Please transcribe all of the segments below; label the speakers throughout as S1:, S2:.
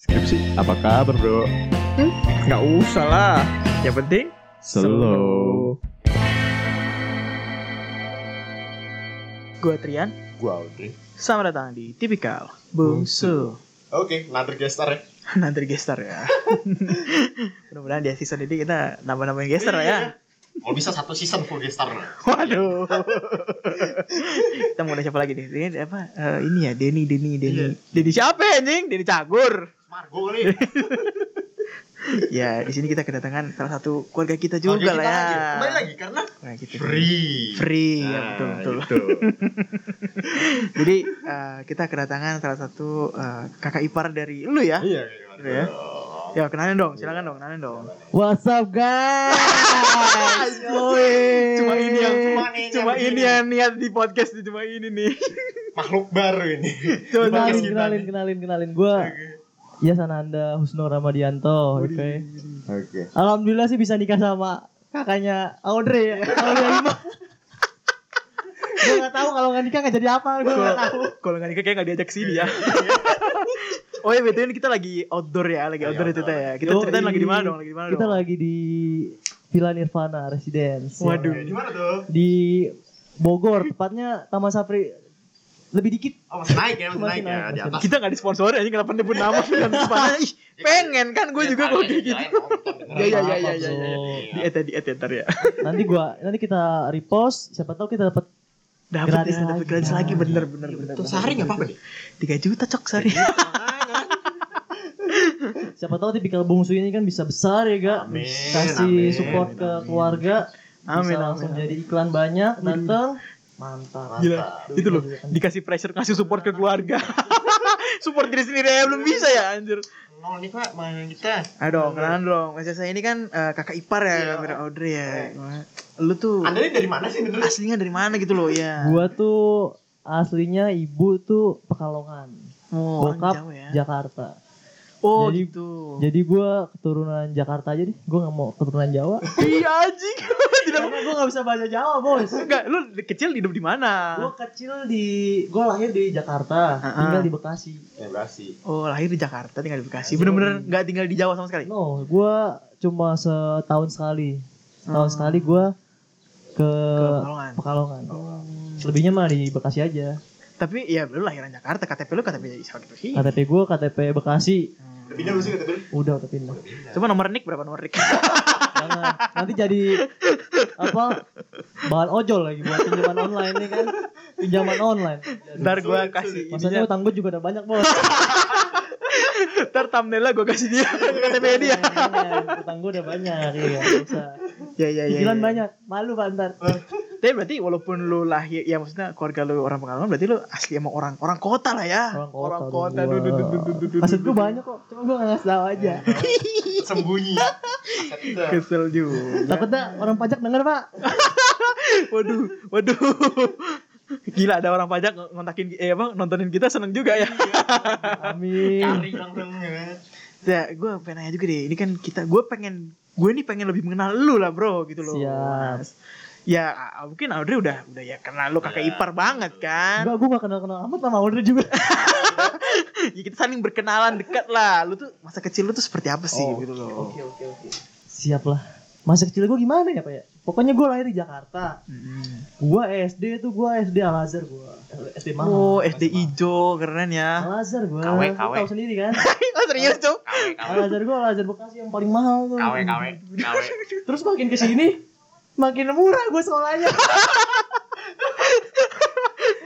S1: sih? Apa kabar bro?
S2: Nggak usah lah. Yang penting
S1: Slow.
S2: Gua Trian,
S3: Gua Audrey.
S2: selamat datang di Tipikal Bungsu.
S3: Oke, another guest star ya.
S2: Nanti gestar ya. Mudah-mudahan di season ini kita nambah-nambahin gestar
S3: Iya.
S2: lah ya.
S3: Kalau bisa satu season full guest star.
S2: Waduh. kita mau ada siapa lagi nih? Ini apa? Eh, ini ya Denny, Denny, Denny.
S3: Iya.
S2: Denny siapa anjing? Denny Cagur.
S3: Margo kali.
S2: ya, di sini kita kedatangan salah satu keluarga kita juga lah
S3: Margo kita
S2: ya.
S3: lagi. Kembali lagi karena
S2: Nah, gitu.
S3: free.
S2: Free, ya,
S3: Nah,
S2: betul, betul.
S3: gitu.
S2: Jadi eh, kita kedatangan salah satu eh, kakak ipar dari lu ya.
S3: Iya,
S2: Gitu ya. Ya kenalin dong, silakan dong, kenalin dong.
S1: What's up guys?
S2: Cuma ini yang
S3: Cuma ini yang
S2: cuma ini
S3: begini.
S2: yang niat di podcast nih, cuma ini nih.
S3: Makhluk baru ini.
S2: Coba
S3: Di podcast
S4: kenalin,
S3: kita
S4: kenalin,
S3: nih.
S4: kenalin, kenalin. Gue Yasananda Husno Ramadianto. Oke.
S3: Oke.
S4: Alhamdulillah sih bisa nikah sama kakaknya Audrey ya. Audrey Ima. gue gak tau kalau gak nikah gak jadi apa. Gue gak tau.
S2: Kalau nggak nikah kayak nggak diajak sini ya. oh iya betul ini kita lagi outdoor ya, lagi
S3: Lagi
S2: outdoor itu
S3: outdoor.
S2: ya. Kita
S4: Yoi.
S2: ceritain lagi di mana dong, lagi di mana
S4: Kita
S2: dong.
S4: lagi di Villa Nirvana Residence. ya.
S2: Waduh.
S3: Di mana tuh?
S4: Di Bogor, tepatnya Taman Sapri. Lebih dikit.
S3: Oh, masih naik ya, masih naik ya
S4: Masih naik,
S3: di
S4: masih
S3: atas.
S2: Kita nggak disponsori anjing kenapa nyebut nama dan tempatnya? Ih, pengen kan gue juga kalau kayak gitu.
S3: ya.
S2: Iya, iya, iya, iya, iya, iya. Di
S3: Iya.
S2: et di et ntar ya.
S4: Nanti gua nanti kita repost, siapa tahu kita dapat
S2: Dapat
S4: Gratis
S2: ya, dapat
S4: lagi.
S2: gratis lagi bener bener bener.
S3: iya. Tuh sehari nggak Iya. apa-apa deh.
S2: 3 juta cok sehari.
S4: siapa tahu tipikal bungsu ini kan bisa besar ya, Gak?
S3: Amin,
S4: Kasih
S3: amin,
S4: support ke
S2: amin.
S4: keluarga.
S2: Amin,
S4: bisa langsung
S2: amin.
S4: jadi iklan banyak datang mantap
S2: Gila,
S3: Mantap.
S2: itu loh dikasih pressure kasih support ke keluarga. support diri sendiri aja belum bisa ya anjir.
S3: Nol nih pak, main kita.
S2: Aduh, kenalan dong. Mas saya ini kan eh, kakak ipar ya,
S3: Iya.
S2: kamera Audrey ya. Lu tuh
S3: Anda ini dari mana sih bener?
S2: aslinya dari mana gitu loh ya?
S4: gua tuh aslinya ibu tuh Pekalongan
S2: Oh,
S4: bokap
S2: jauh ya.
S4: Jakarta
S2: Oh,
S4: Jadi-
S2: gitu.
S4: jadi gua keturunan Jakarta aja deh gua nggak mau keturunan Jawa
S2: Iya anjing. Tidak
S4: karena gua nggak bisa bahasa Jawa bos
S2: enggak lu kecil hidup di mana?
S4: gua kecil di gua lahir di Jakarta
S2: Ha-ha.
S4: tinggal di Bekasi
S3: Ya berasi.
S2: Oh, lahir di Jakarta, tinggal di
S4: Iya.
S2: Bekasi. Bener-bener nggak tinggal di Jawa sama sekali.
S4: no gua cuma setahun sekali setahun
S2: Hmm.
S4: sekali gua ke
S2: Pekalongan. Oh.
S4: Pekalongan lebihnya mah di Bekasi aja
S2: Tapi ya lu lahiran Jakarta, KTP lu KTP Jakarta gitu sih.
S4: KTP gua KTP Bekasi
S3: Pindah belum sih kata Bel?
S4: udah udah pindah
S2: Coba nomor nik berapa nomor nik?
S4: Jangan. Nanti jadi apa? Bahan ojol lagi buat pinjaman online nih kan. Pinjaman online.
S2: Ntar gua kasih
S4: Masanya
S2: ininya.
S4: utang gue juga udah banyak bos.
S2: Ntar thumbnailnya gua kasih dia KTP dia.
S4: Banyak. utang gue udah banyak iya. nggak usah.
S2: Ya
S4: Iya,
S2: ya ya.
S4: Pikiran
S2: ya.
S4: banyak. Malu pak ntar.
S2: Tapi berarti walaupun lu lahir ya maksudnya keluarga lu orang Pekalongan berarti lu asli emang orang orang kota lah ya.
S4: Orang
S2: kota.
S4: kota.
S2: Du, du, du, du, du, du, du,
S4: Maksud
S2: du,
S4: gue
S2: du.
S4: banyak kok. Cuma gue nggak ngasih tahu
S2: Iya,
S4: aja.
S3: Sembunyi.
S2: Kesel juga.
S4: Takutnya orang pajak denger pak.
S2: waduh, waduh. Gila ada orang pajak ngontakin eh apa nontonin kita seneng juga ya.
S4: Amin.
S3: Cari langsung. ya.
S2: Ya, gue pengen nanya juga deh. Ini kan kita, gue pengen, gue nih pengen lebih mengenal lu lah bro, gitu loh.
S4: Siap.
S2: Mas. Ya, ah, mungkin Audrey udah, udah ya kenal lu kakak
S3: Ya.
S2: ipar banget kan.
S4: Enggak, gue gak kenal-kenal amat sama Audrey juga.
S2: Ya, kita saling berkenalan dekat lah. Lu tuh masa kecil lu tuh seperti apa sih,
S4: Oh,
S2: gitu loh.
S4: oke, oke. Siap lah. Masa kecil gue gimana ya pak ya? Pokoknya gue lahir di Jakarta.
S2: Mm.
S4: Gua SD tuh gua SD Al Azhar gua. SD mahal.
S2: Oh, SD ijo keren ya.
S4: Al Azhar gua.
S3: KW,
S4: Lu
S3: KW.
S4: Tahu sendiri kan?
S2: Oh, serius tuh.
S3: Kawe,
S4: Al
S3: kawe,
S4: Azhar gua Al Azhar Bekasi yang paling mahal tuh.
S3: kawe, kawe, kawe.
S4: Terus makin ke sini makin murah gua sekolahnya.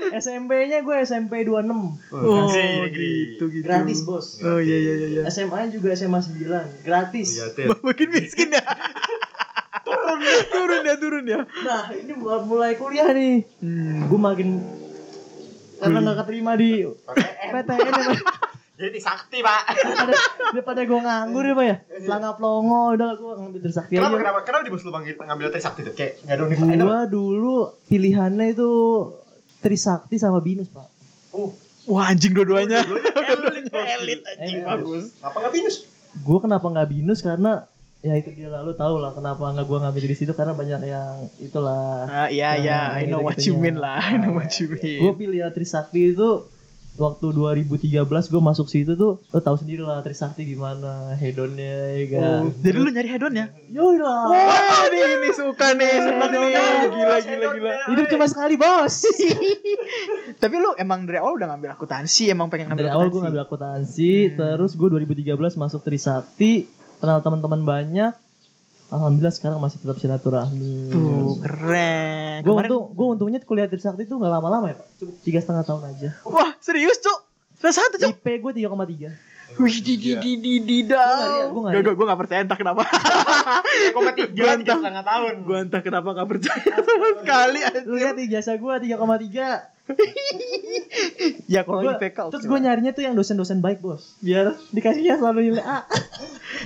S4: SMP-nya gua SMP 26.
S2: Oh,
S3: Negeri, negeri.
S2: gitu gitu.
S4: Gratis, Bos.
S2: Oh iya iya iya. iya.
S4: SMA-nya juga SMA 9, gratis.
S3: Liatin.
S2: Makin miskin ya. turun ya, turun ya, turun ya.
S4: Nah, ini mulai, mulai kuliah nih.
S2: Hmm.
S4: Gua makin karena nggak keterima di PTN ya, Pak.
S3: Jadi sakti pak.
S4: daripada, daripada gue nganggur ya pak ya Langga plongo udah gue ngambil Trisakti
S3: Iya. Kenapa
S4: aja
S3: kenapa kenapa di bos lu panggil ngambil tes sakti tuh? Kayak nggak ada Eh, universitas.
S4: gue dulu pilihannya itu Trisakti sama Binus pak
S3: Oh,
S2: Wah anjing dua-duanya.
S3: elit, elit.
S2: Anjing
S4: Elit.
S2: bagus.
S3: Apa nggak binus?
S4: gue Eh, kenapa nggak Binus karena ya itu dia lalu tau lah kenapa nggak gue ngambil di situ karena banyak yang itulah
S2: Ah, iya iya,
S4: Nah,
S2: I know what you
S4: gitu-gitunya.
S2: mean Oh. lah, I know what you
S4: gue
S2: mean.
S4: pilih ya Trisakti itu waktu 2013 gue masuk situ tuh lo tahu sendiri lah Trisakti gimana hedonnya ya kan
S2: Jadi lu nyari hedon ya?
S4: Yoi lah.
S2: Wah, ini, ini suka nih, suka nih.
S4: Hedonnya.
S2: Gila, gila, gila.
S4: hidup cuma sekali bos
S2: Tapi lu emang dari awal udah ngambil akuntansi, emang pengen ngambil
S4: dari awal gue
S2: akuntansi?
S4: ngambil akuntansi
S2: Hmm.
S4: terus gue 2013 masuk Trisakti kenal teman-teman banyak alhamdulillah sekarang masih tetap silaturahmi
S2: Tuh, keren.
S4: gue
S2: Kemarin-
S4: untung gue untungnya kuliah Trisakti tuh nggak lama-lama ya pak cuma tiga setengah tahun aja
S2: Wah, serius, Cuk? Kelas satu, Cuk.
S4: IP gue 3,3
S2: Wih, di di di di di dah.
S4: Gua nggak liat, gua nggak
S2: Gak,
S4: liat.
S2: gua gua nggak percaya entah kenapa.
S3: Koma tiga, tiga
S2: Ganteng.
S3: setengah tahun.
S2: gua entah kenapa nggak percaya sama sekali.
S4: lu lihat di jasa gue 3,3
S2: Ya kalau
S4: Gua-
S2: di PK. oke
S4: terus
S2: lah. Iya.
S4: gue nyarinya tuh yang dosen-dosen baik bos biar dikasih ya selalu nilai A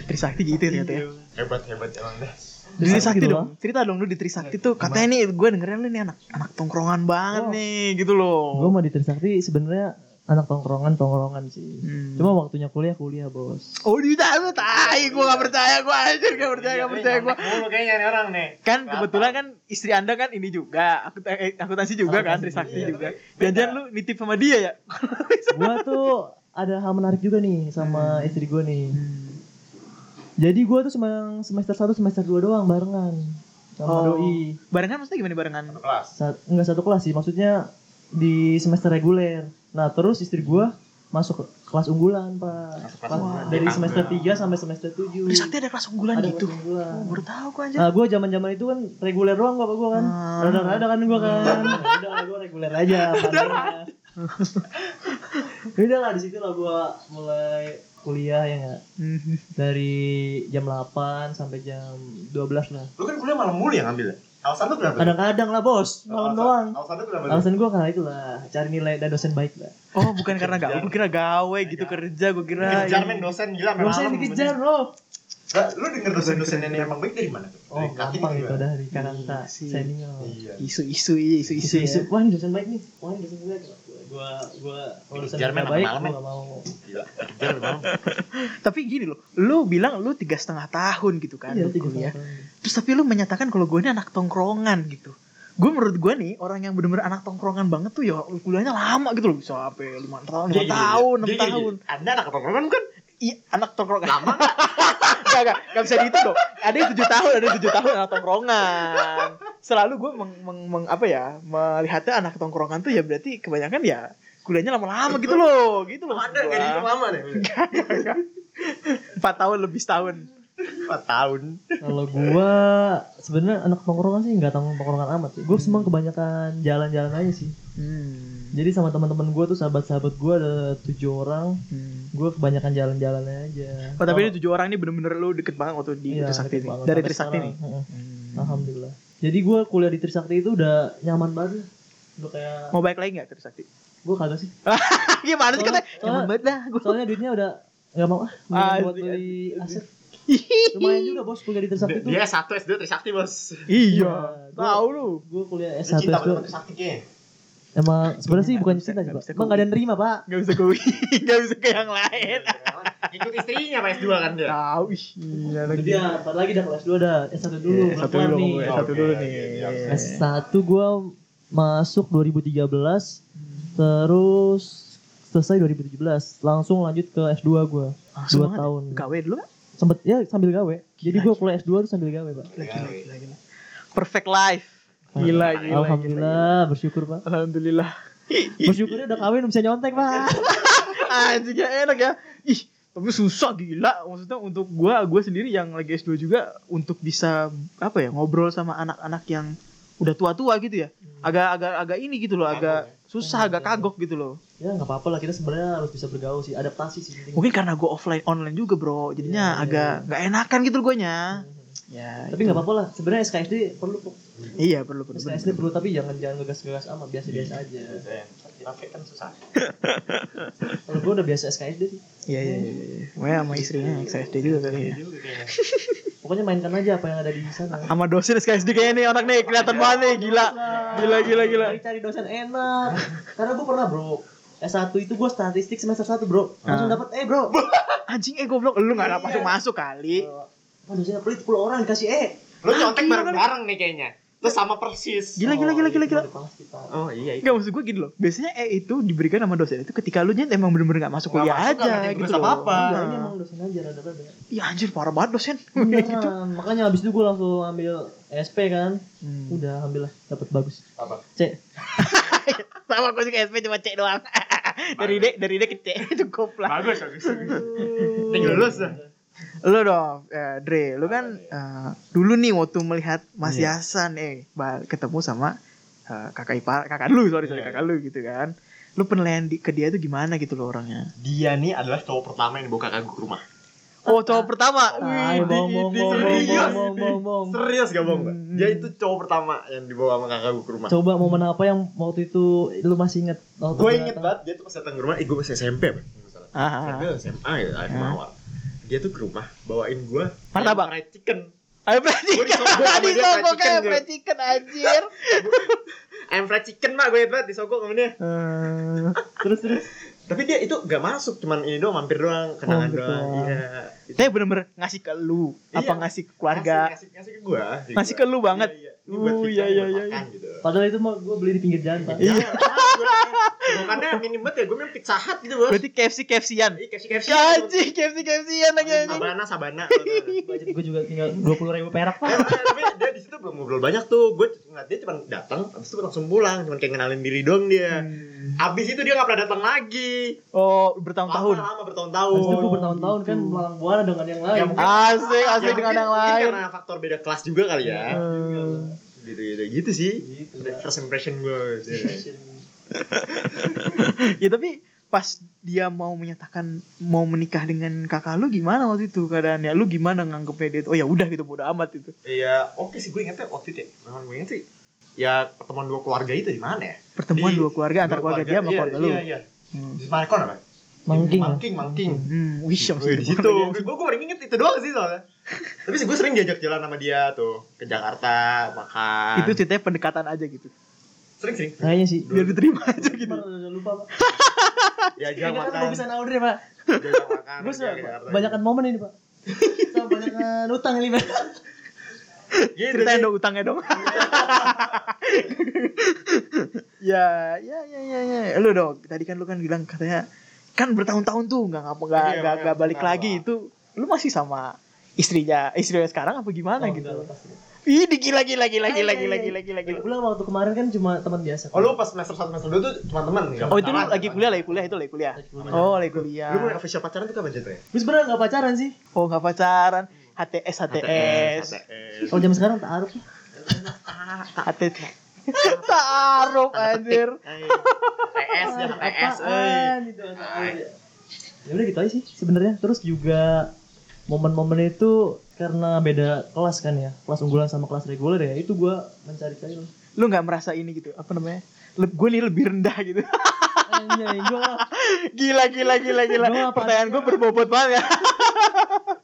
S2: Trisakti gitu ternyata
S4: Iya,
S2: ya.
S3: Hebat hebat emang dah.
S2: Di Trisakti
S4: Gitu
S2: dong. Cerita dong lu di Trisakti tuh katanya nih gue dengerin lu nih anak anak tongkrongan banget
S4: Oh.
S2: nih gitu loh.
S4: gue mau di Trisakti sebenarnya anak tongkrongan tongkrongan sih
S2: Hmm.
S4: cuma waktunya kuliah kuliah bos
S2: Oh di dalam tai gue gak percaya gue anjir gak percaya gak percaya gue.
S3: Iya, Mulu kayaknya nih orang nih.
S2: Kan kebetulan kan istri anda kan ini juga akut- eh, akuntansi juga kan Trisakti
S3: Iya,
S2: juga.
S3: tapi beda.
S2: Jangan-jangan lu nitip sama dia ya?
S4: gue tuh ada hal menarik juga nih sama istri gue nih
S2: Hmm.
S4: jadi gue tuh semang- semester 1 semester 2 doang barengan sama
S2: Oh.
S4: doi
S2: Barengan maksudnya gimana barengan?
S3: Satu kelas.
S4: Sat- nggak satu kelas sih maksudnya di semester reguler nah terus istri gue masuk ke kelas unggulan pak
S3: Masuk kelas
S4: Pas-
S3: unggulan.
S4: dari
S3: Di
S4: semester
S3: tangga.
S4: 3 sampai semester 7
S2: Trisakti ada kelas unggulan
S4: Ada
S2: gitu.
S4: kelas unggulan.
S2: Oh, baru tahu gue anjir.
S4: Nah, gue zaman zaman itu kan reguler doang bapak gue kan.
S2: Ah.
S4: Rada-rada kan gue kan. Udah, gue reguler aja. pandainya. Udah lah di situ lah gue mulai kuliah ya nggak?
S2: Hmm.
S4: dari jam 8 sampai jam 12 lah.
S3: Lu kan kuliah malam mulu ya ngambil. Alasan lu kenapa?
S4: Kadang-kadang lah bos, malam doang.
S3: Alasan lu kenapa?
S4: Alasan gue karena itulah cari nilai dan dosen baik lah.
S2: Oh bukan karena gawe, gue kira gawe gitu kerja, gue kira.
S3: Dikejar men dosen gila memang.
S4: Dosen dikejar Oh, loh.
S3: Lah, Lu denger dosen-dosen yang emang baik dari mana? tuh?
S4: Oh
S3: Dari kaki
S4: gampang itu
S3: gimana?
S4: dari Karanta
S2: Iya sih.
S4: senior.
S3: Iya.
S2: Isu-isu, isu-isu.
S4: Isu-isu,
S2: ya.
S4: wah ini dosen baik nih, wah ini dosen baik. Gue, gue, dosen
S3: Dikejar, men,
S4: nggak baik,
S3: malam-malam, men.
S4: gue gak mau.
S3: Gila. Dikejar bang.
S2: Tapi gini loh, lu bilang lu tiga setengah tahun gitu kan,
S4: Iya,
S2: lu
S4: tiga
S2: kuliah.
S4: tahun.
S2: Terus tapi lu menyatakan kalau gue ini anak tongkrongan gitu. Gue menurut gue nih orang yang bener-bener anak tongkrongan banget tuh ya kuliahnya lama gitu loh bisa sampai lima tahun, lima
S3: Iya, iya,
S2: tahun, enam
S3: iya. Iya, iya, iya.
S2: tahun.
S3: Anda anak tongkrongan kan?
S2: Iya anak tongkrongan.
S3: Lama nggak?
S2: Gak, gak, gak bisa dihitung dong. Ada yang tujuh tahun, ada yang tujuh tahun anak tongkrongan. Selalu gue meng, meng- meng- apa ya melihatnya anak tongkrongan tuh ya berarti kebanyakan ya kuliahnya lama-lama gitu loh, gitu loh.
S3: Anda
S2: maksud
S3: nggak
S2: gua.
S3: dihitung lama nih.
S2: Empat tahun lebih setahun.
S3: Empat tahun.
S4: Kalau gua sebenarnya anak tongkrongan sih nggak tanggung tongkrongan amat sih. Gua semang kebanyakan jalan-jalan aja sih.
S2: Hmm.
S4: Jadi sama teman-teman gua tuh sahabat-sahabat gua ada tujuh orang.
S2: Hmm.
S4: Gua kebanyakan jalan-jalan aja.
S2: Oh, tapi ini tujuh orang ini bener-bener lu deket banget waktu di
S4: Iya,
S2: Trisakti
S4: deket
S2: nih.
S4: banget.
S2: Dari
S4: Sampai
S2: Trisakti nih.
S4: sekarang, heeh.
S2: Hmm.
S4: Alhamdulillah. Jadi gua kuliah di Trisakti itu udah nyaman banget. Udah kayak
S2: Mau balik lagi gak Trisakti?
S4: gua kagak sih.
S2: Ah, Gimana sih katanya?
S4: Soalnya-
S2: Nyaman banget dah gue.
S4: Soalnya duitnya udah nggak mau ah mendingan
S2: Ah,
S4: buat
S2: iya.
S4: beli aset. Lumayan juga bos kuliah di Trisakti tuh.
S3: Dia S1, S2, Trisakti bos.
S2: Iya.
S4: Iya, gua-
S2: Tahu lu.
S4: Gua kuliah
S3: Dia
S4: S1
S3: cinta
S4: S2.
S3: sama Trisakti kayaknya.
S4: Emang sebenarnya sih
S2: Nggak
S4: bukan
S2: bisa,
S4: cinta sih
S2: nggak
S4: pak.
S2: bisa
S4: Emang nggak ada yang nerima pak.
S2: Gak bisa ke gak bisa ke yang lain.
S3: Ikut istrinya Pak S2 kan dia.
S2: Tahu ih. Iya
S4: Itu
S2: lagi.
S4: dia, ntar lagi dah kelas 2 dah, S1 dulu,
S2: Iya, satu
S4: kelas ya, kelar
S2: dulu,
S4: nih.
S2: ngomongin satu dulu
S3: Oke,
S2: nih. Eh,
S3: iya, iya.
S4: S1 gua masuk 2013, terus selesai 2017, langsung lanjut ke S2 gua.
S2: Langsung
S4: Dua
S2: banget ya.
S4: tahun.
S2: Gawe dulu kan?
S4: Sempet ya sambil gawe. Jadi gua kuliah S2 tuh sambil gawe, Pak.
S2: Lagi, lagi, lagi. Perfect life.
S4: Gila,
S2: Gila, gila, gila.
S4: Alhamdulillah, bersyukur, Pak.
S2: Alhamdulillah.
S4: Bersyukurnya udah kawin bisa nyontek, Pak.
S2: Anjingnya enak ya. Ih, tapi susah gila. Maksudnya untuk gua, gua sendiri yang lagi S2 juga untuk bisa apa ya ngobrol sama anak-anak yang udah tua-tua gitu ya.
S4: Hmm.
S2: Agak-agak agak ini gitu loh, agak susah, agak kagok gitu loh.
S4: Ya nggak apa-apa lah, kita sebenarnya harus bisa bergaul sih, adaptasi sih. penting.
S2: Mungkin karena gua offline online juga, Bro. Jadinya
S4: Iya, iya,
S2: agak
S4: iya.
S2: nggak enakan gitu loh guanya. Ya,
S4: Tapi nggak apa-apa lah, sebenarnya SKSD perlu, Pak.
S2: Iya, perlu perlu. perlu.
S4: SKSD perlu tapi jangan jangan ngegas-ngegas amat, biasa-biasa aja.
S3: Pakai kan susah.
S4: Kalau gua udah biasa SKSD sih.
S2: Iya iya iya. iya. Makanya sama istrinya XSD
S4: Iya.
S2: juga kali ya.
S3: Juga Gitu, kayaknya.
S4: Pokoknya mainkan aja apa yang ada di sana.
S2: Sama dosen XSD kayaknya nih anak nih kelihatan banget nih gila. Gila gila gila.
S4: Cari dosen enak. Karena gue pernah bro. S1 itu gue statistik semester 1 bro.
S2: Ah.
S4: Langsung dapat eh bro.
S2: Anjing eh goblok lu
S4: Iya.
S2: enggak masuk masuk kali.
S4: Oh. Wah dosennya pelit 10 orang dikasih eh.
S3: Lu nyontek
S2: Gila,
S3: bareng-bareng nih kayaknya. Terus sama persis.
S2: Gila, gila, gila, gila, gila.
S3: Oh iya.
S2: Enggak maksud gue gini loh. Biasanya E itu diberikan sama dosen itu ketika lu nyet emang bener-bener gak masuk
S3: Nggak
S2: kuliah
S3: masuk,
S2: aja
S3: nggak ngerti
S2: gitu
S3: tugas
S2: loh.
S3: apa-apa.
S2: Iya.
S4: Enggak, ini emang dosen aja rada-rada.
S2: Iya anjir parah banget dosen. Kayak gitu.
S4: Beneran. Makanya abis itu gue langsung ambil SP kan.
S2: Hmm.
S4: Udah alhamdulillah dapat bagus.
S3: Apa?
S4: C.
S2: Sama gue juga SP cuma cek doang. dari D dari D ke C cukup lah.
S3: Bagus, bagus. Tinggi lulus dah.
S2: Lo dong, eh, Dre, lo kan eh, dulu nih waktu melihat Mas
S4: Iya.
S2: Yasan eh ba- ketemu sama eh, kakak ipar, kakak lu sorry sorry
S3: Iya.
S2: kakak lu gitu kan. Lu penilaian di- ke dia itu gimana gitu lo orangnya?
S3: Dia nih adalah cowok pertama yang dibawa kakak gue ke rumah.
S2: Oh cowok pertama.
S4: Ayo
S2: Wih,
S4: bong
S2: di-
S4: bong
S2: di-
S4: bong bong
S2: serius.
S4: bong bong bong bong.
S3: Serius gak bohong? Mbak?
S2: Hmm.
S3: Dia itu cowok pertama yang dibawa sama kakak gue ke rumah.
S4: Coba momen apa yang waktu itu lu masih inget? Waktu
S3: Gue
S4: lu
S3: inget
S4: datang.
S3: banget dia tuh pas datang ke rumah, eh gue masih SMP apa? Nggak salah.
S2: Ah, ah, ah.
S3: SMP SMA ya, SMA awal. Dia tuh ke rumah bawain gue
S2: Martabak.
S3: fried chicken.
S2: Ayo berarti
S3: Gua disogok sama
S2: tadi
S3: dia, fried
S2: sogok
S3: chicken,
S2: kayak
S3: Dre.
S2: fried chicken anjir.
S3: Ayam fried chicken mak gue hebat disogok sama dia.
S2: Eh,
S4: Terus terus.
S3: Tapi dia itu gak masuk, cuman ini doang mampir doang, kenangan
S4: Mampir
S3: doang.
S4: doang.
S3: Iya.
S2: Oh, gitu. Tapi bener-bener ngasih ke lu apa
S3: Iya.
S2: ngasih ke keluarga?
S3: Ngasih, ngasih, ngasih ke gue.
S2: Ngasih ke lu banget.
S3: Iya, iya. Ini buat
S2: Uh,
S3: kita,
S2: iya, iya,
S3: buat
S2: iya,
S3: makan gitu.
S4: Padahal itu mah gue beli di pinggir jalan pak.
S3: Iya. Bukannya minim banget ya, gue main pizza hut gitu bos.
S2: Berarti KFC KFC-an.
S3: Iya, KFC KFC.
S2: Anjir KFC KFC-an lagi Ya, anjing.
S3: Sabana, Sabana. kalau nggak.
S4: Budget gue juga tinggal dua puluh ribu
S3: Eh,
S4: perak pak.
S3: tapi dia di situ belum ngobrol banyak tuh. Gue ngeliat dia cuma datang, habis itu langsung pulang, cuma kayak kenalin diri doang dia.
S2: Hmm.
S3: Habis itu dia nggak pernah datang lagi.
S2: Oh, bertahun-tahun.
S3: Lama-lama
S4: Habis itu
S3: bertahun-tahun.
S4: gue bertahun-tahun kan melalang buana dengan yang
S3: Ya,
S4: lain.
S3: mungkin-
S2: Asik, asik
S3: Ya,
S2: dengan
S3: mungkin-
S2: yang
S3: mungkin
S2: lain.
S3: Karena faktor beda kelas juga kali ya.
S2: Eh,
S3: Gitu gitu gitu sih.
S4: Gitu, Pak.
S3: First impression gitu. gue.
S2: ya tapi pas dia mau menyatakan mau menikah dengan kakak lu gimana waktu itu keadaannya? Lu gimana nganggepnya dia? itu? Oh ya udah gitu bodo amat itu.
S3: Iya, oke sih gue ingetnya waktu itu. ya. Memang gue inget sih. Ya pertemuan dua keluarga itu di mana ya?
S2: Pertemuan
S3: Di-
S2: dua keluarga antar
S3: Dua
S2: keluarga dia sama
S3: iya,
S2: keluarga lu.
S3: Iya, iya.
S2: Hmm.
S3: Di Markon apa?
S4: Mangking. Pak.
S3: Mangking, mangking.
S2: Hmm, wih, sama
S3: Gue di situ. Gue gue paling inget itu doang sih soalnya. Tapi sih gue sering diajak jalan sama dia tuh ke Jakarta
S2: gitu? Itu
S3: makan.
S2: Nah, iya. ceritanya pendekatan aja gitu.
S3: sering sering.
S4: Kayaknya sih.
S2: Biar diterima aja gitu.
S4: Lupa, lupa pak. kan
S3: Diajak
S4: Ingat
S3: Ya, makan.
S4: lukisan Audrey ya, pak.
S3: Diajak makan.
S4: Gue
S3: diajak ke Jakarta.
S4: banyakan momen ini pak. Sama banyakan utang ini pak.
S3: Gitu
S2: Ceritain
S3: sih.
S2: dong utangnya dong. ya, ya, ya, ya, ya. Lu dong, tadi kan lu kan bilang katanya kan bertahun-tahun tuh nggak ngapa nggak
S3: Iya,
S2: nggak nggak balik
S3: kenapa?
S2: lagi itu lu masih sama istrinya istrinya sekarang apa gimana
S4: Oh,
S2: gitu
S4: enggak, lepas.
S2: ih di- gila gila gila
S4: Ay,
S2: gila
S4: ay,
S2: gila
S4: ay.
S2: gila gila gila
S4: Pulang waktu kemarin kan cuma teman biasa.
S3: Oh lu pas semester 1 semester 2 tuh cuma teman enggak?
S2: oh itu lu lagi kuliah lagi kuliah itu lagi kuliah oh lagi kuliah
S3: Lu mulai official pacaran tuh kapan jatuhnya?
S4: Gue sebenarnya nggak pacaran sih.
S2: oh nggak pacaran HTS HTS
S3: HTS.
S4: Kalau zaman sekarang tak arif.
S2: HTS taruh anjir
S3: TS ya, TS. eh.
S4: Apaan itu? Ya udah gitu aja sih sebenarnya. Terus juga momen-momen itu karena beda kelas kan ya kelas unggulan sama kelas reguler ya itu gue mencari-cari loh
S2: lu nggak merasa ini gitu apa namanya gue nih lebih rendah gitu
S4: anjay gue
S2: gila gila gila gila
S4: Gua apaan?
S2: pertanyaan gue berbobot banget ya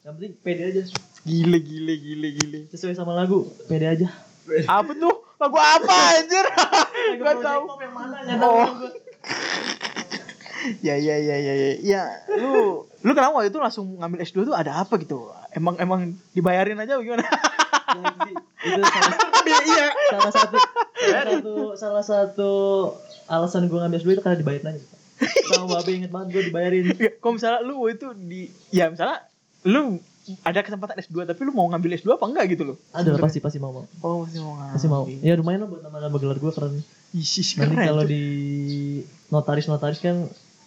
S4: yang penting pede aja
S2: gila gila gila gila
S4: sesuai sama lagu pede aja
S2: apa tuh lagu apa anjir gue tahu
S4: yang mana
S2: oh ya ya ya ya ya ya lu lu kenapa waktu itu langsung ngambil S2 tuh ada apa gitu emang emang dibayarin aja apa gimana
S4: itu salah
S3: Iya.
S4: salah satu salah satu salah satu alasan gue ngambil S2 itu karena dibayarin aja Pak. sama babe inget banget gue dibayarin
S2: Iya, kalau misalnya lu waktu itu di ya misalnya lu ada kesempatan S2 tapi lu mau ngambil S2 apa enggak gitu loh
S4: ada lah, pasti pasti mau mau
S2: oh masih mau ngambil
S4: pasti mau ya lumayan lah buat nama-nama gelar gue keren
S2: Ih, ih,
S4: nanti
S2: keren
S4: kalau
S2: tuh.
S4: di notaris notaris kan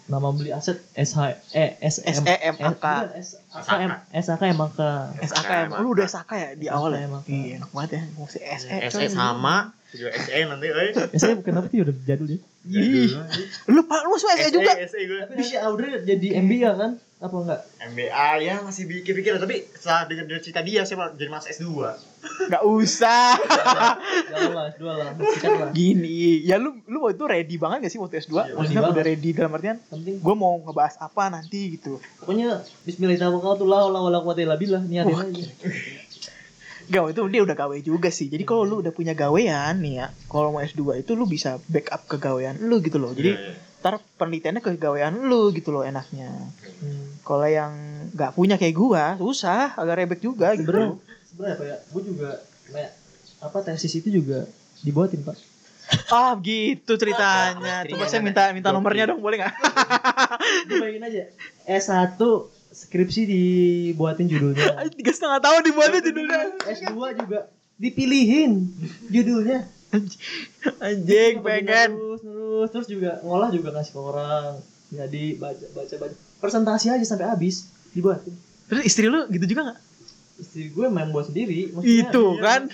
S4: nama beli aset SH eh SM
S2: SEMAK.
S4: Eh, Bukan, E SAKM SAKM maka
S2: SAKM. Lu udah SAK ya di awal ya?
S4: SAKM, apa?
S2: Iya, enak banget ya. Mau si SE.
S3: SE sama juga SE E nanti oi.
S4: SE kenapa sih udah jadul ya
S2: Ih. Lu Pak, lu masuk SE E juga.
S3: SE E, gue.
S4: tapi si Audrey jadi MBA kan apa enggak
S3: MBA ya masih pikir-pikir tapi setelah denger denger cerita dia saya malah jadi mas S2.
S2: Enggak usah.
S4: Jangan lah dua lah sikat lah
S2: Gini, ya lu lu waktu itu ready banget gak sih waktu S2?
S3: Iya,
S2: Maksudnya
S4: ready
S2: udah ready dalam artian
S4: Yang penting
S2: gue mau ngebahas apa nanti gitu.
S4: Pokoknya bismillahirrahmanirrahim la wala quwata illa billah niatin
S2: Wah,
S4: aja.
S2: Gak, waktu itu dia udah gawe juga sih. Jadi kalau lu udah punya gawean nih ya, kalau mau S2 itu lu bisa backup ke gawean lu gitu loh. Jadi
S3: Iya,
S2: ntar penelitiannya ke gawean lu gitu loh enaknya.
S4: Hmm.
S2: Kalau yang nggak punya kayak gua, susah, agak rebek juga gitu.
S4: Sebenarnya sebenarnya apa ya? Gue juga kayak apa tesis itu juga dibuatin pak
S2: Ah gitu ceritanya. Coba saya minta minta nomornya dong boleh nggak?
S4: Lu bayangin aja S1 skripsi dibuatin judulnya
S2: Tiga setengah tahun dibuatnya judulnya.
S4: S2 juga dipilihin judulnya
S2: Anjing pengen.
S4: terus terus terus juga ngolah juga kasih ke orang jadi baca baca baca presentasi aja sampai habis dibuatin
S2: Terus istri lu gitu juga nggak?
S4: istri gue memang buat sendiri
S2: Itu kan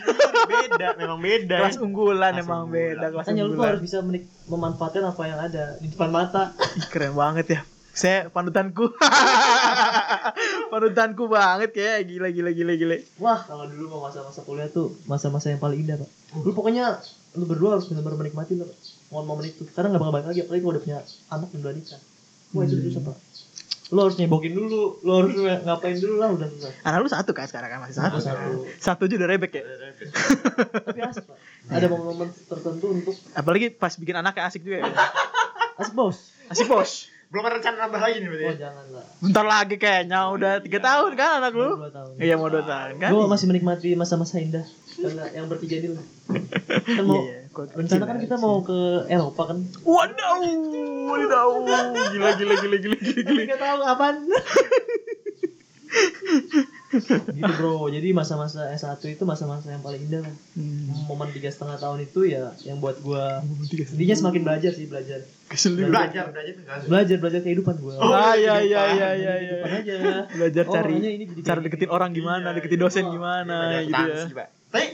S3: beda memang beda
S2: kelas unggulan
S3: Kelas
S2: emang
S3: unggulan.
S2: beda kelas
S4: makanya lu tuh
S2: unggulan.
S4: harus bisa menik- memanfaatkan apa yang ada di depan mata
S2: Ih, keren banget ya. Saya panutanku. panutanku banget kayak gila gila gila gila.
S4: wah kalau dulu mau masa-masa kuliah tuh masa-masa yang paling indah pak lu pokoknya lu berdua harus benar-benar menikmati lah pak momen-momen itu karena nggak bakal balik lagi apalagi kalau udah punya anak dan udah nikah wah itu
S2: Hmm.
S4: susah pak lu harus nyebokin dulu lu harus ngapain dulu lah udah susah
S2: Anak lu satu kan sekarang kan masih satu.
S4: Satu satu
S2: Satu aja udah rebek ya.
S4: tapi asik pak
S2: Iya.
S4: ada momen-momen tertentu untuk
S2: Apalagi pas bikin anak yang asik juga ya.
S4: asik bos
S2: Asik bos.
S3: belum ada rencana nambah lagi nih
S2: Iya.
S3: berarti
S4: oh jangan lah
S2: Bentar lagi kayaknya udah tiga tahun kan anak lu.
S4: dua tahun
S2: Iya mau dua tahun kan.
S4: gue masih menikmati masa-masa indah karena yang bertiga ini lah kan mau
S2: Iya, iya.
S4: rencana kan kita mau ke Eropa kan
S2: Wadaw, wadaw, gila gila gila gila gila. gila.
S4: Gak tahu kapan. gitu bro, jadi masa-masa S1 itu masa-masa yang paling indah. lah.
S2: Hmm.
S4: Momen tiga setengah tahun itu ya yang buat gua intinya semakin belajar sih belajar,
S2: Keselin.
S3: belajar belajar enggak sih
S4: belajar belajar kehidupan gua.
S3: Oh,
S2: Ah iya iya
S3: kehidupan.
S2: iya iya iya.
S4: Kehidupan aja.
S2: Belajar
S4: Oh,
S2: cari
S4: orangnya ini jadi
S2: cara
S4: kayak
S2: deketin
S4: gini.
S2: orang gimana,
S4: Iya,
S2: deketin
S4: iya.
S2: dosen
S4: Oh,
S2: gimana
S3: Belajar
S2: gitu ya.
S3: akuntansi, Pak. tapi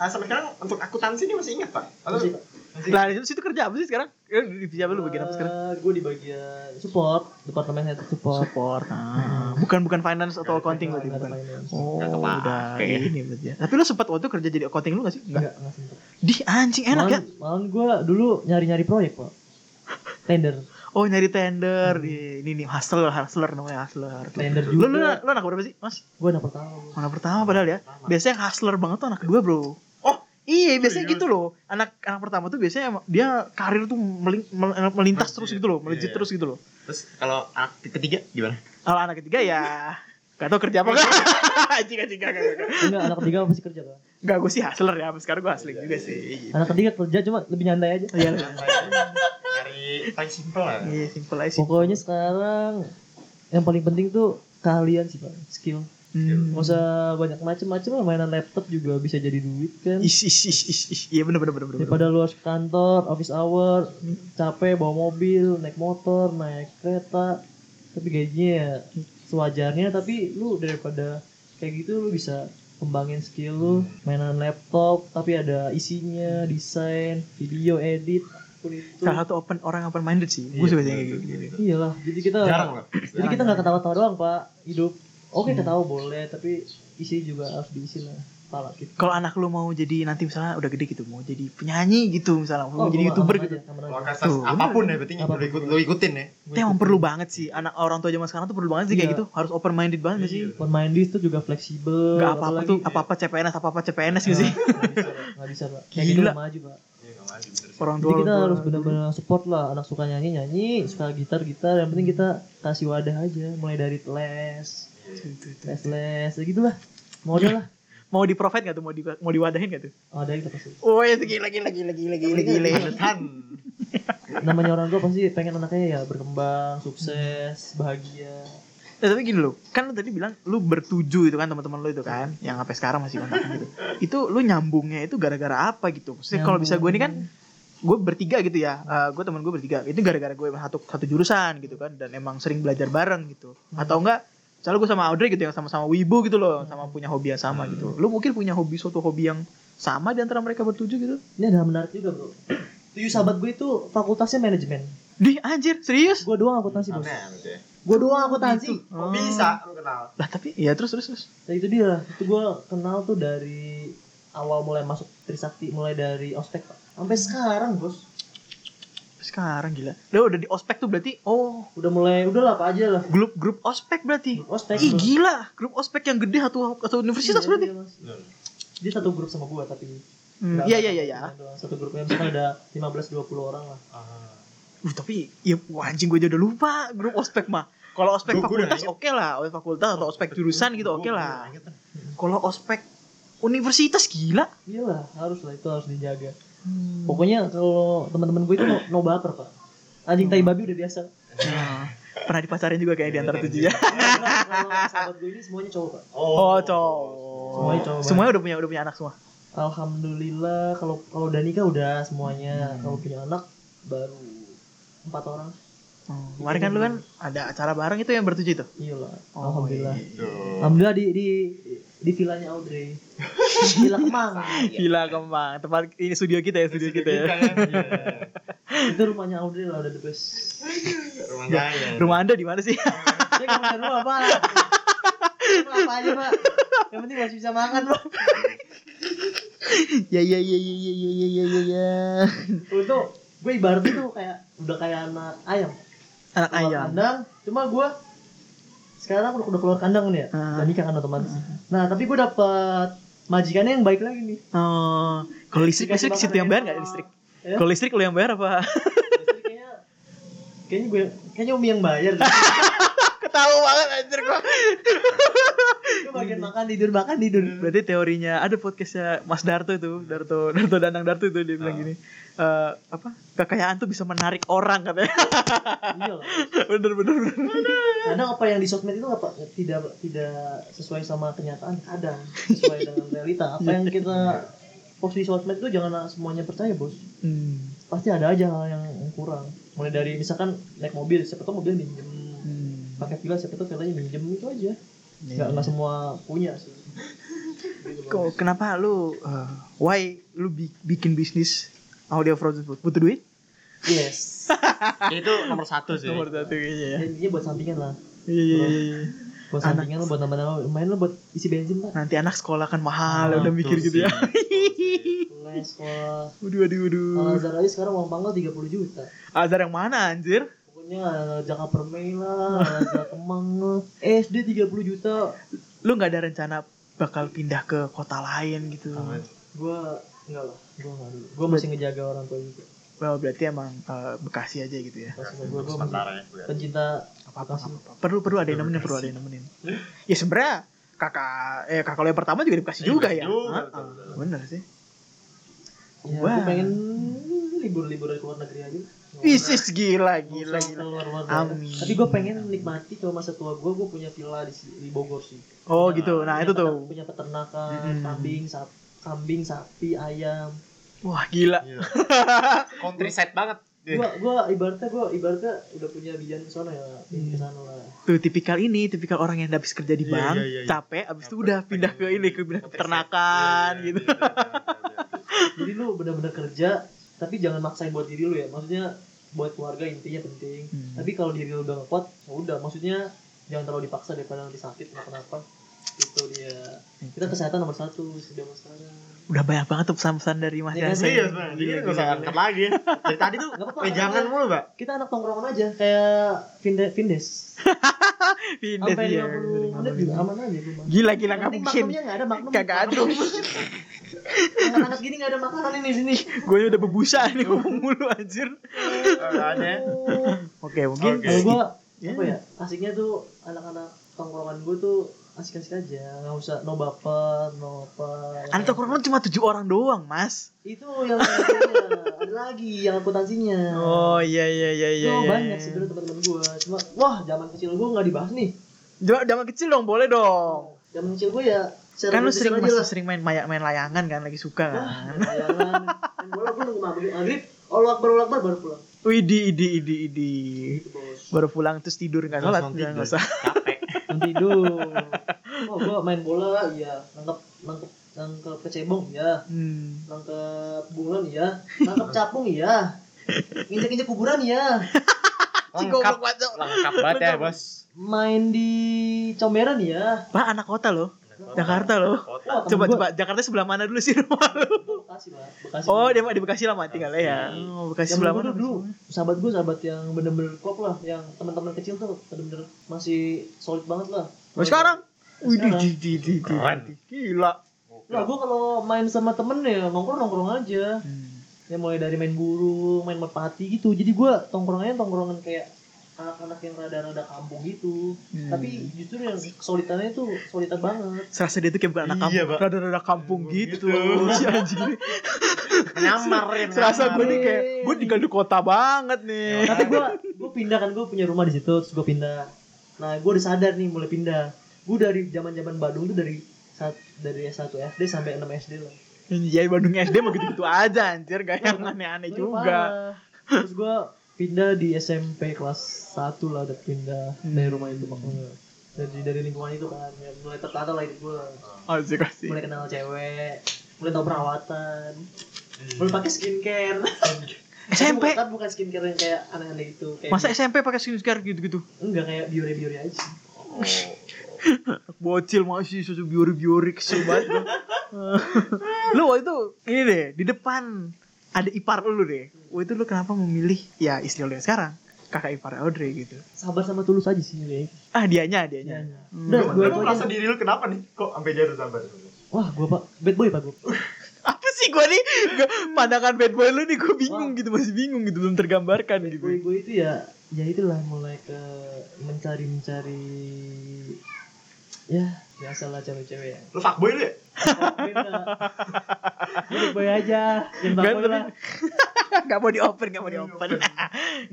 S3: ah, sampai sekarang untuk akuntansi ini masih ingat pak atau
S4: Masih, Pak.
S3: masih
S2: Lah, Nah, di situ kerja apa sih sekarang? Eh, Di di- apa lu bagian apa sekarang?
S4: Eh, Gua di bagian support, departemen head Oh, support.
S2: Support. Ah, bukan bukan finance atau accounting berarti
S4: Nggak ada
S2: bukan.
S4: finance.
S2: Oh,
S3: Nggak
S2: udah
S3: kepake.
S2: ini berarti ya. Tapi lu sempat waktu kerja jadi accounting lu gak sih? Enggak.
S4: Enggak, enggak sempet.
S2: Di anjing enak ya.
S4: Malahan- Malahan gua dulu nyari-nyari proyek, Pak. Tender.
S2: Oh, nyari tender. Iya, Ini nih hustler, hustler namanya hustler.
S4: Hmm. Tender
S2: Lu lu
S4: juga.
S2: lu anak berapa sih, Mas?
S4: Gua anak pertama.
S2: Anak pertama padahal ya. Biasanya yang hustler banget tuh anak kedua, Bro.
S3: Oh.
S2: Iya, biasanya
S3: Serius?
S2: gitu loh. Anak anak pertama tuh biasanya emang- dia karir tuh meling- mel- melintas
S3: Melejit.
S2: terus gitu loh, melejit
S3: Iya, iya.
S2: terus gitu loh.
S3: terus kalau anak ketiga gimana
S2: Kalau anak ketiga ya gak tau kerja apa enggak. Anjing anjing enggak enggak, enggak.
S4: Enggak, anak ketiga masih kerja, Pak.
S2: Enggak gue sih hustler ya, sampai sekarang gue hustling juga sih.
S4: Anak ketiga kerja cuma lebih nyantai aja.
S2: Iya.
S3: dari paling simpel lah
S2: Iya, simple aja sih.
S4: Pokoknya sekarang yang paling penting tuh keahlian sih pak, skill.
S2: Hmm.
S4: Gak usah banyak macem-macem lah mainan laptop juga bisa jadi duit kan.
S2: Is is is is. is. Iya bener bener bener. bener.
S4: Daripada lu harus ke kantor, office hour, capek bawa mobil, naik motor, naik kereta, tapi gajinya ya sewajarnya. Tapi lu daripada kayak gitu lu bisa kembangin skill lu,
S3: Hmm.
S4: mainan laptop, tapi ada isinya, desain, video edit, apapun itu.
S2: Salah satu open orang open minded sih. Gue suka kayak gitu.
S4: Iyalah, jadi kita
S3: jarang Hmm. lah
S4: Jadi kita nggak ketawa-tawa doang pak hidup. Oke ketawa boleh tapi isi juga harus diisi lah. Pala gitu.
S2: Kalau anak lu mau jadi nanti misalnya udah gede gitu, mau jadi penyanyi gitu misalnya, mau
S4: Oh,
S2: jadi
S4: gua
S2: youtuber
S4: aman
S2: gitu.
S4: aja, aman aja.
S3: Lokasi
S2: Tuh,
S3: apapun ya berarti
S4: Apapun.
S3: lu ikut lu ikutin ya
S4: Gua
S2: Itu emang
S4: ikut.
S2: perlu banget sih anak orang tua zaman sekarang tuh perlu banget sih kayak
S4: Iya.
S2: gitu harus open minded banget nggak sih
S4: Pemain di itu juga fleksibel.
S2: nggak apa apa
S4: apalagi- Iya.
S2: tuh apa apa CPNS apa apa CPNS gitu sih
S4: Nggak bisa, Pak. Nggak bisa pak. Kayak gitu
S2: Gila.
S4: nggak maju pak.
S3: Iya, nggak maju, bener sih.
S2: orang tua
S4: Jadi kita
S2: orang tua.
S4: harus benar-benar support lah anak suka nyanyi nyanyi, suka gitar gitar. Yang penting kita kasih wadah aja. Mulai dari les,
S2: Gitu,
S4: les les, ya gitulah. Mau lah.
S2: mau di provide nggak tuh mau di mau diwadahin nggak tuh
S4: Oh, ada kita pasti.
S2: oh ya gila gila gila gila gila gila
S3: Han.
S4: Namanya orang tua pasti pengen anaknya ya berkembang, sukses, bahagia.
S2: nah, tapi gini loh kan lu tadi bilang lu bertuju itu kan teman-teman lu itu kan yang sampai sekarang masih kontak gitu itu lu nyambungnya itu gara-gara apa gitu maksudnya kalau bisa gue ini kan gue bertiga gitu ya Eh gue teman gue bertiga itu gara-gara gue emang satu satu jurusan gitu kan dan emang sering belajar bareng gitu atau enggak misalnya gue sama Audrey gitu yang sama-sama wibu gitu loh sama punya hobi yang sama gitu lu mungkin punya hobi suatu hobi yang sama di antara mereka bertujuh gitu
S4: Ini ada menarik juga bro. Tujuh sahabat gue itu fakultasnya manajemen.
S2: dih anjir serius Gitu.
S4: Gue doang akuntansi bos.
S3: Aneh, gitu
S2: Oh.
S3: ya.
S4: Gue doang akuntansi.
S3: Kok bisa lu kenal
S2: lah tapi ya terus terus terus
S4: Nah itu dia. Itu gue kenal tuh dari awal mulai masuk Trisakti, mulai dari ospek pak. Sampai sekarang bos.
S2: sekarang gila lu udah di ospek tuh berarti oh
S4: Udah mulai, udahlah apa aja lah.
S2: grup grup ospek berarti
S4: Grup ospek.
S2: ih gila grup ospek yang gede satu satu universitas
S4: Iya,
S2: berarti
S4: iya, Mas. Dia satu grup sama gue tapi.
S2: Hmm,
S4: Nggak
S2: iya
S4: ada
S2: iya iya iya
S4: satu doang. Satu grupnya misalkan ada 15-20 orang lah.
S3: Ah.
S2: Uh, tapi ya wah, anjing gue aja udah lupa grup ospek mah. Kalau ospek
S3: Gua- gua udah
S2: gitu,
S3: gitu.
S2: fakultas oke lah, ospek fakultas atau ospek jurusan gitu oke lah. Kalau ospek universitas gila.
S4: Iyalah, harus Iya lah itu harus dijaga.
S2: Hmm.
S4: Pokoknya kalau teman-teman gue itu no, no baper, Pak. Anjing
S2: Hmm.
S4: tai babi udah biasa.
S2: Nah, pernah dipasarin juga
S4: Iya,
S2: kayak di antara tujuh ya.
S4: Karena kalau sahabat gue ini semuanya cowok, Pak.
S2: Oh,
S4: Semuanya
S2: cowok.
S4: cowok.
S2: Semuanya udah punya udah punya anak semua.
S4: Alhamdulillah kalau kalau udah nikah udah semuanya. Kalau punya anak baru empat orang.
S2: Kemarin kan lu kan ada acara bareng itu yang bertujuh itu.
S4: Iyalah.
S2: Oh,
S4: Iya Alhamdulillah.
S3: Tuh.
S4: Alhamdulillah di di di villanya Audrey. Gila kemang.
S2: Gila kembang. Tempat ini studio kita ya, Iya. studio kita
S3: kan,
S2: ya.
S4: itu rumahnya Audrey lah udah the best.
S3: Rumah gaya.
S2: Rumah Anda di mana sih?
S4: Dia nggak punya rumah pak. Rumah apa aja pak? Yang penting masih bisa makan pak.
S2: ya ya ya ya ya ya ya ya ya.
S4: Untuk gue ibaratnya tuh kayak udah kayak anak ayam.
S2: Anak
S4: Keluar
S2: ayam.
S4: Kandang. Cuma gue sekarang udah, udah keluar kandang nih ya.
S2: Ah.
S4: Udah nikah kan otomatis. Nah tapi gue dapet majikannya yang baik lagi nih.
S2: Oh, kalau listrik
S4: Dikasih
S2: listrik situ
S4: makan
S2: yang bayar
S4: enak.
S2: nggak listrik?
S4: Ya.
S2: Kalau listrik lu yang bayar apa?
S4: Jadi kayaknya kayaknya gue kayaknya umi yang bayar.
S2: Ketawa banget anjir gua.
S4: Gue bagian makan tidur makan tidur.
S2: Berarti teorinya ada podcastnya Mas Darto itu, Darto, Darto Danang Darto itu dia bilang
S3: Ah.
S2: gini, eh apa kekayaan tuh bisa menarik orang katanya.
S4: Iya lah.
S2: bener bener bener.
S4: kadang apa yang di sosmed itu apa tidak tidak sesuai sama kenyataan kadang sesuai dengan realita apa yang kita post di sosmed itu jangan semuanya percaya bos
S2: Hmm.
S4: pasti ada aja hal yang yang kurang mulai dari misalkan naik mobil siapa tahu mobil minjem
S2: hmm.
S4: pakai villa siapa tahu villanya minjem itu aja nggak nggak semua punya sih
S2: Kok kenapa lu eh, why lu bi- bikin bisnis audio frozen food? Butuh duit?
S4: yes
S3: Ya, Itu nomor satu sih.
S2: Nomor satu kayaknya ya.
S4: Ya, intinya buat sampingan lah
S2: Iya iya iya. iya.
S4: buat
S2: Anak.
S4: sampingan lo buat nambah-nambah main lo buat isi bensin pak
S2: Nanti anak sekolah kan mahal, udah
S3: Betul
S2: mikir
S3: sih.
S2: gitu ya.
S4: les sekolah
S2: Waduh waduh
S4: kalau
S2: waduh.
S4: Zara aja sekarang uang pangkal 30 juta
S2: Azar yang mana anjir?
S4: Pokoknya jangan permai lah, jangan kemang lah. Eh, SD 30 juta,
S2: Lu nggak ada rencana bakal pindah ke kota lain gitu?
S4: gua enggak lah, gua enggak dulu. Gua masih ngejaga orang tua juga.
S2: Well berarti emang eh, Bekasi aja gitu ya.
S4: Masih gua, gua masih
S3: Sementara ya. gue.
S4: pencinta
S2: Apa
S4: Bekasi.
S2: Perlu perlu ada yang nemenin, perlu ada yang nemenin. Ya sebenernya kakak eh kakak lo yang pertama juga di Bekasi
S3: Iya,
S2: juga
S3: Bekasi
S2: ya.
S3: juga,
S2: Ah,
S3: betul,
S2: ah,
S3: betul.
S2: Bener sih.
S4: Ya,
S2: Wah.
S4: gua pengen libur-libur ke luar negeri aja.
S2: Isis gila
S4: Nggak
S2: gila
S4: usah
S2: gila.
S4: keluar luar
S2: Amin.
S4: Tapi gua pengen nikmati kalau masa tua gua, gua punya villa di, di Bogor sih.
S2: Oh gitu. Nah
S4: Punya
S2: itu
S4: peter-
S2: tuh.
S4: Punya peternakan,
S2: Mm-mm.
S4: kambing, sap- kambing, sapi, ayam.
S2: Wah gila.
S3: Iya. Countryside banget.
S2: Eh.
S4: Gua gua ibaratnya gua ibaratnya udah punya bijan ke sana ya, ke
S2: Mm.
S4: sana lah.
S2: Tuh tipikal ini, tipikal orang yang habis kerja di
S3: Iya,
S2: bank,
S3: iya, iya, iya.
S2: capek, abis itu udah pindah ke ini, ke pindah ke peternakan
S3: Iya, iya,
S2: gitu.
S3: iya, iya, iya.
S4: jadi lu bener-bener kerja tapi jangan maksain buat diri lu ya maksudnya buat keluarga intinya penting
S2: Hmm.
S4: tapi kalau diri lu udah gak kuat ya udah maksudnya jangan terlalu dipaksa daripada nanti sakit kenapa-napa itu dia kita kesehatan nomor satu sudah masalah
S2: Udah banyak banget tuh pesan-pesan dari Mas
S4: Iya,
S2: Yansen.
S3: Serius, Bang. Jadi kita nggak usah angkat lagi ya. Dari tadi tuh,
S4: Nggak apa-apa,
S3: eh, jangan mulu, Pak.
S4: kita anak tongkrongan aja kayak Vinde- vindes
S2: Pindah
S4: sampai
S2: dia.
S4: 50 menit juga aman aja gue mah
S2: iya, Gila gila nggak
S4: Penting
S2: mungkin.
S4: maknumnya nggak ada maknum
S2: Kagak ada.
S4: anak-anak gini nggak ada makanan ini di sini
S2: Gue udah bebusa nih ngomong mulu anjir.
S3: Makanya.
S4: Oh.
S2: Oke, mungkin
S3: Oke.
S4: Kalau gue
S2: Ya.
S4: apa ya asiknya tuh anak-anak tongkrongan gue tuh asik-asik aja nggak usah no baper no apa
S2: anak tongkrongan cuma tujuh orang doang, Mas.
S4: itu yang akuntansinya. ada lagi yang akuntansinya
S2: Oh iya iya iya
S4: Itu
S2: iya. iya.
S4: banyak sebenarnya teman-teman gue cuma wah zaman kecil gue nggak dibahas nih
S2: Jangan jangan kecil dong, boleh dong.
S4: zaman kecil gue ya share
S2: Kan lu
S4: bisnis
S2: sering
S4: aja
S2: masih
S4: lah. Ah,
S2: sering main main main layangan kan lagi suka
S4: Wah,
S2: kan.
S4: bayangan. Main bola gue nunggu maghrib maghrib olak berolak bar baru pulang
S2: Widi idi idi idi.
S4: gitu bos
S2: Baru pulang terus tidur nggak
S3: Terus
S2: sholat,
S3: nanti
S2: nggak
S3: tidur.
S2: usah.
S3: Capek.
S4: nanti dong oh gue main bola iya nangkep nangkep nangkep kecebong iya
S2: Hmm.
S4: nangkep bunglon iya nangkep capung iya nginjek injek kuburan iya
S2: Si
S3: Lengkap.
S2: goblok banget. Cok.
S3: Lengkap banget ya, Bos.
S4: main di comberan iya
S2: Lah anak kota loh. Jakarta loh.
S3: Kota.
S4: Wah, temen
S2: Coba
S4: gua-
S2: coba Jakarta sebelah mana dulu sih rumah lu?
S4: bekasi lah bekasi
S2: Oh, dia mah di Bekasi lama tinggalnya ya.
S3: Bekasi.
S2: Oh, Bekasi
S4: Zaman
S2: sebelah
S4: gua
S2: mana?
S4: tuh dulu sahabat gue sahabat yang bener-bener klop lah yang teman-teman kecil tuh bener-bener masih solid banget lah
S2: Oh, sekarang. Wih, di
S4: Sekarang.
S2: di di di di-
S3: Keren.
S2: di- gila.
S4: lah gue kalau main sama temen ya nongkrong nongkrong aja ya mulai dari main burung main merpati gitu jadi gue tongkrongannya tongkrongan kayak anak-anak yang rada-rada kampung gitu
S2: Hmm.
S4: tapi justru yang kesulitannya itu kesulitan banget
S2: Serasa dia tuh kayak bukan anak
S3: Iya,
S2: kampung,
S3: Pak.
S2: rada-rada kampung gitu.
S3: Gitu.
S2: si anjing ini.
S3: Nyamar ya.
S2: Serasa gue
S3: nyamar.
S2: nih kayak gue tinggal di kota banget nih.
S4: tapi gue gue pindah kan gue punya rumah di situ terus gue pindah nah gue udah sadar nih mulai pindah gue dari zaman zaman Bandung tuh dari saat dari S1 SD sampai 6 SD lah
S2: Iya Bandung SD mah gitu-gitu aja anjir, gak yang aneh-aneh
S4: Tapi
S2: juga.
S4: parah. terus gue pindah di SMP kelas 1 lah udah pindah
S2: Hmm.
S4: dari rumah itu makanya dari dari lingkungan itu kan ya, mulai tertata lah hidup gue
S2: Asik asik.
S4: mulai kenal cewek mulai tau perawatan
S2: Hmm.
S4: mulai pakai skincare
S2: SMP
S4: tapi bukan skincare yang kayak aneh-aneh gitu kayak
S2: masa SMP pakai skincare gitu-gitu?
S4: enggak kayak biore-biore aja
S2: Bocil masih susu biori-biori kesel banget gua. lu waktu itu ini deh di depan ada ipar lu deh. Waktu itu lu kenapa memilih ya istri lu yang sekarang? Kakak ipar Audrey gitu.
S4: sabar sama tulus aja sih nih
S2: Ah dianya, dianya. Hmm.
S4: udah
S3: Lu-
S4: gue
S3: Lu
S4: itu
S3: merasa
S4: aja
S3: diri lu kenapa nih? Kok sampai jarum sabar?
S4: wah gue pak bad boy pak gue
S2: Apa sih gua nih? Gua- pandangan bad boy lu nih gua bingung
S4: Wah.
S2: gitu, masih bingung gitu belum tergambarkan
S4: bad
S2: gitu.
S4: boy gue itu ya ya itulah mulai ke mencari mencari ya biasalah cewek-cewek ya
S3: Lu fuckboy lu ya?
S4: Gue enggak. Gue bad boy aja yang
S2: Kan,
S4: bad boy
S2: tapi-
S4: lah
S2: gak mau dioper, gak mau dioper.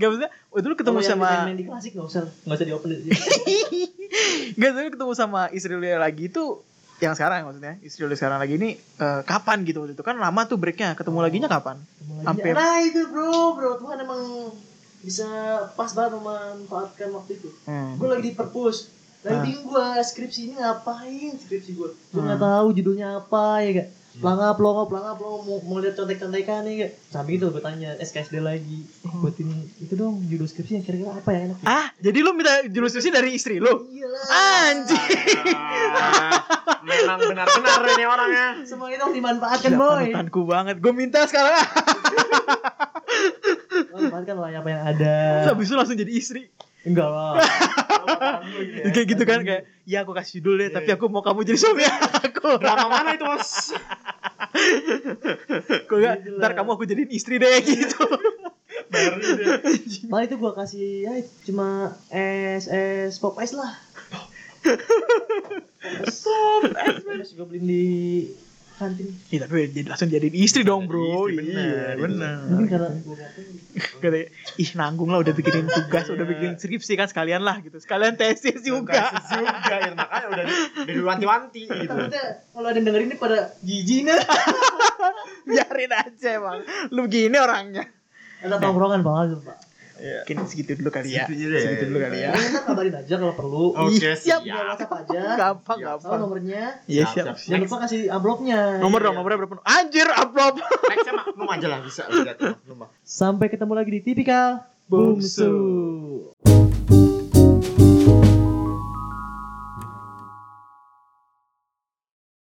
S2: gak maksudnya, waktu itu lu ketemu
S4: Kalau yang
S2: sama
S4: main-main di klasik nggak usah nggak usah diopen di
S2: Gak tapi ketemu sama istri lu yang lagi itu yang sekarang maksudnya istri lu sekarang lagi ini eh, kapan gitu waktu itu kan lama tuh breaknya ketemu laginya kapan Sampai-
S4: Sampai... Nah itu bro, bro Tuhan emang bisa pas banget memanfaatkan waktu itu.
S2: hmm.
S4: Gue lagi di perpus,
S2: Ah.
S4: lagi bingung gue skripsinya ngapain skripsi gue. Gue nggak
S2: Hmm.
S4: tahu judulnya apa ya gak. Pelangap longo, pelangap longo mau, mau lihat contek-contekan ya gak. Sambil itu gue tanya SKSD lagi. Eh, buatin itu dong judul skripsinya kira-kira apa ya enak. Iya ya?
S2: Hmm. ah jadi lu minta jurususnya dari istri lu
S4: Iyalah.
S2: anjing
S3: Ah, Memang benar-benar ini orangnya.
S4: Semua itu harus dimanfaatkan boy.
S2: panutanku banget gue minta sekarang ah
S4: Manfaatkan lah apa yang ada.
S2: Terus habis itu langsung jadi istri
S4: Enggak lah. ya.
S2: kayak gitu kan kayak ya aku kasih judul deh tapi aku mau kamu jadi suami aku
S3: Drama mana itu mas?
S2: aku gak
S4: Gila.
S2: ntar kamu aku jadiin istri deh gitu
S3: Baru dia.
S4: Paling itu gue kasih ya cuma es es pop ice lah. Pop ice. Pop ice gue beliin di kantin.
S2: Iya, tapi jadi- langsung jadiin istri dong bro
S3: Istri, bener.
S2: iya bener
S4: Mungkin karena gue ganteng.
S2: Kata, ih nanggung lah udah bikinin tugas, udah bikin skripsi kan sekalian lah gitu. Sekalian tesis juga.
S3: Kasus juga ya makanya udah di- udah diwanti-wanti gitu.
S4: Takutnya kalau ada yang dengerin ini pada jijik nih.
S2: Biarin aja emang. Lu begini orangnya.
S4: Ada tongkrongan banget pak.
S2: Mungkin segitu dulu kali ya.
S3: Segitu dulu ya.
S2: Segitu dulu kali ya.
S4: Kalian ntar kabarin aja kalau perlu.
S3: Oke,
S2: Iya,
S3: siap.
S4: Tinggal WhatsApp aja.
S2: Gampang,
S3: Siap.
S4: Tahu
S2: gampang.
S4: nomornya.
S2: Iya, siap.
S3: siap.
S4: Jangan lupa kasih amplopnya.
S2: Nomor dong, nomornya berapa? Anjir, upload.
S3: Next sama lu aja lah bisa lu lihat lu mah.
S4: Sampai ketemu lagi di Tipikal
S2: Bungsu.
S4: Bungsu.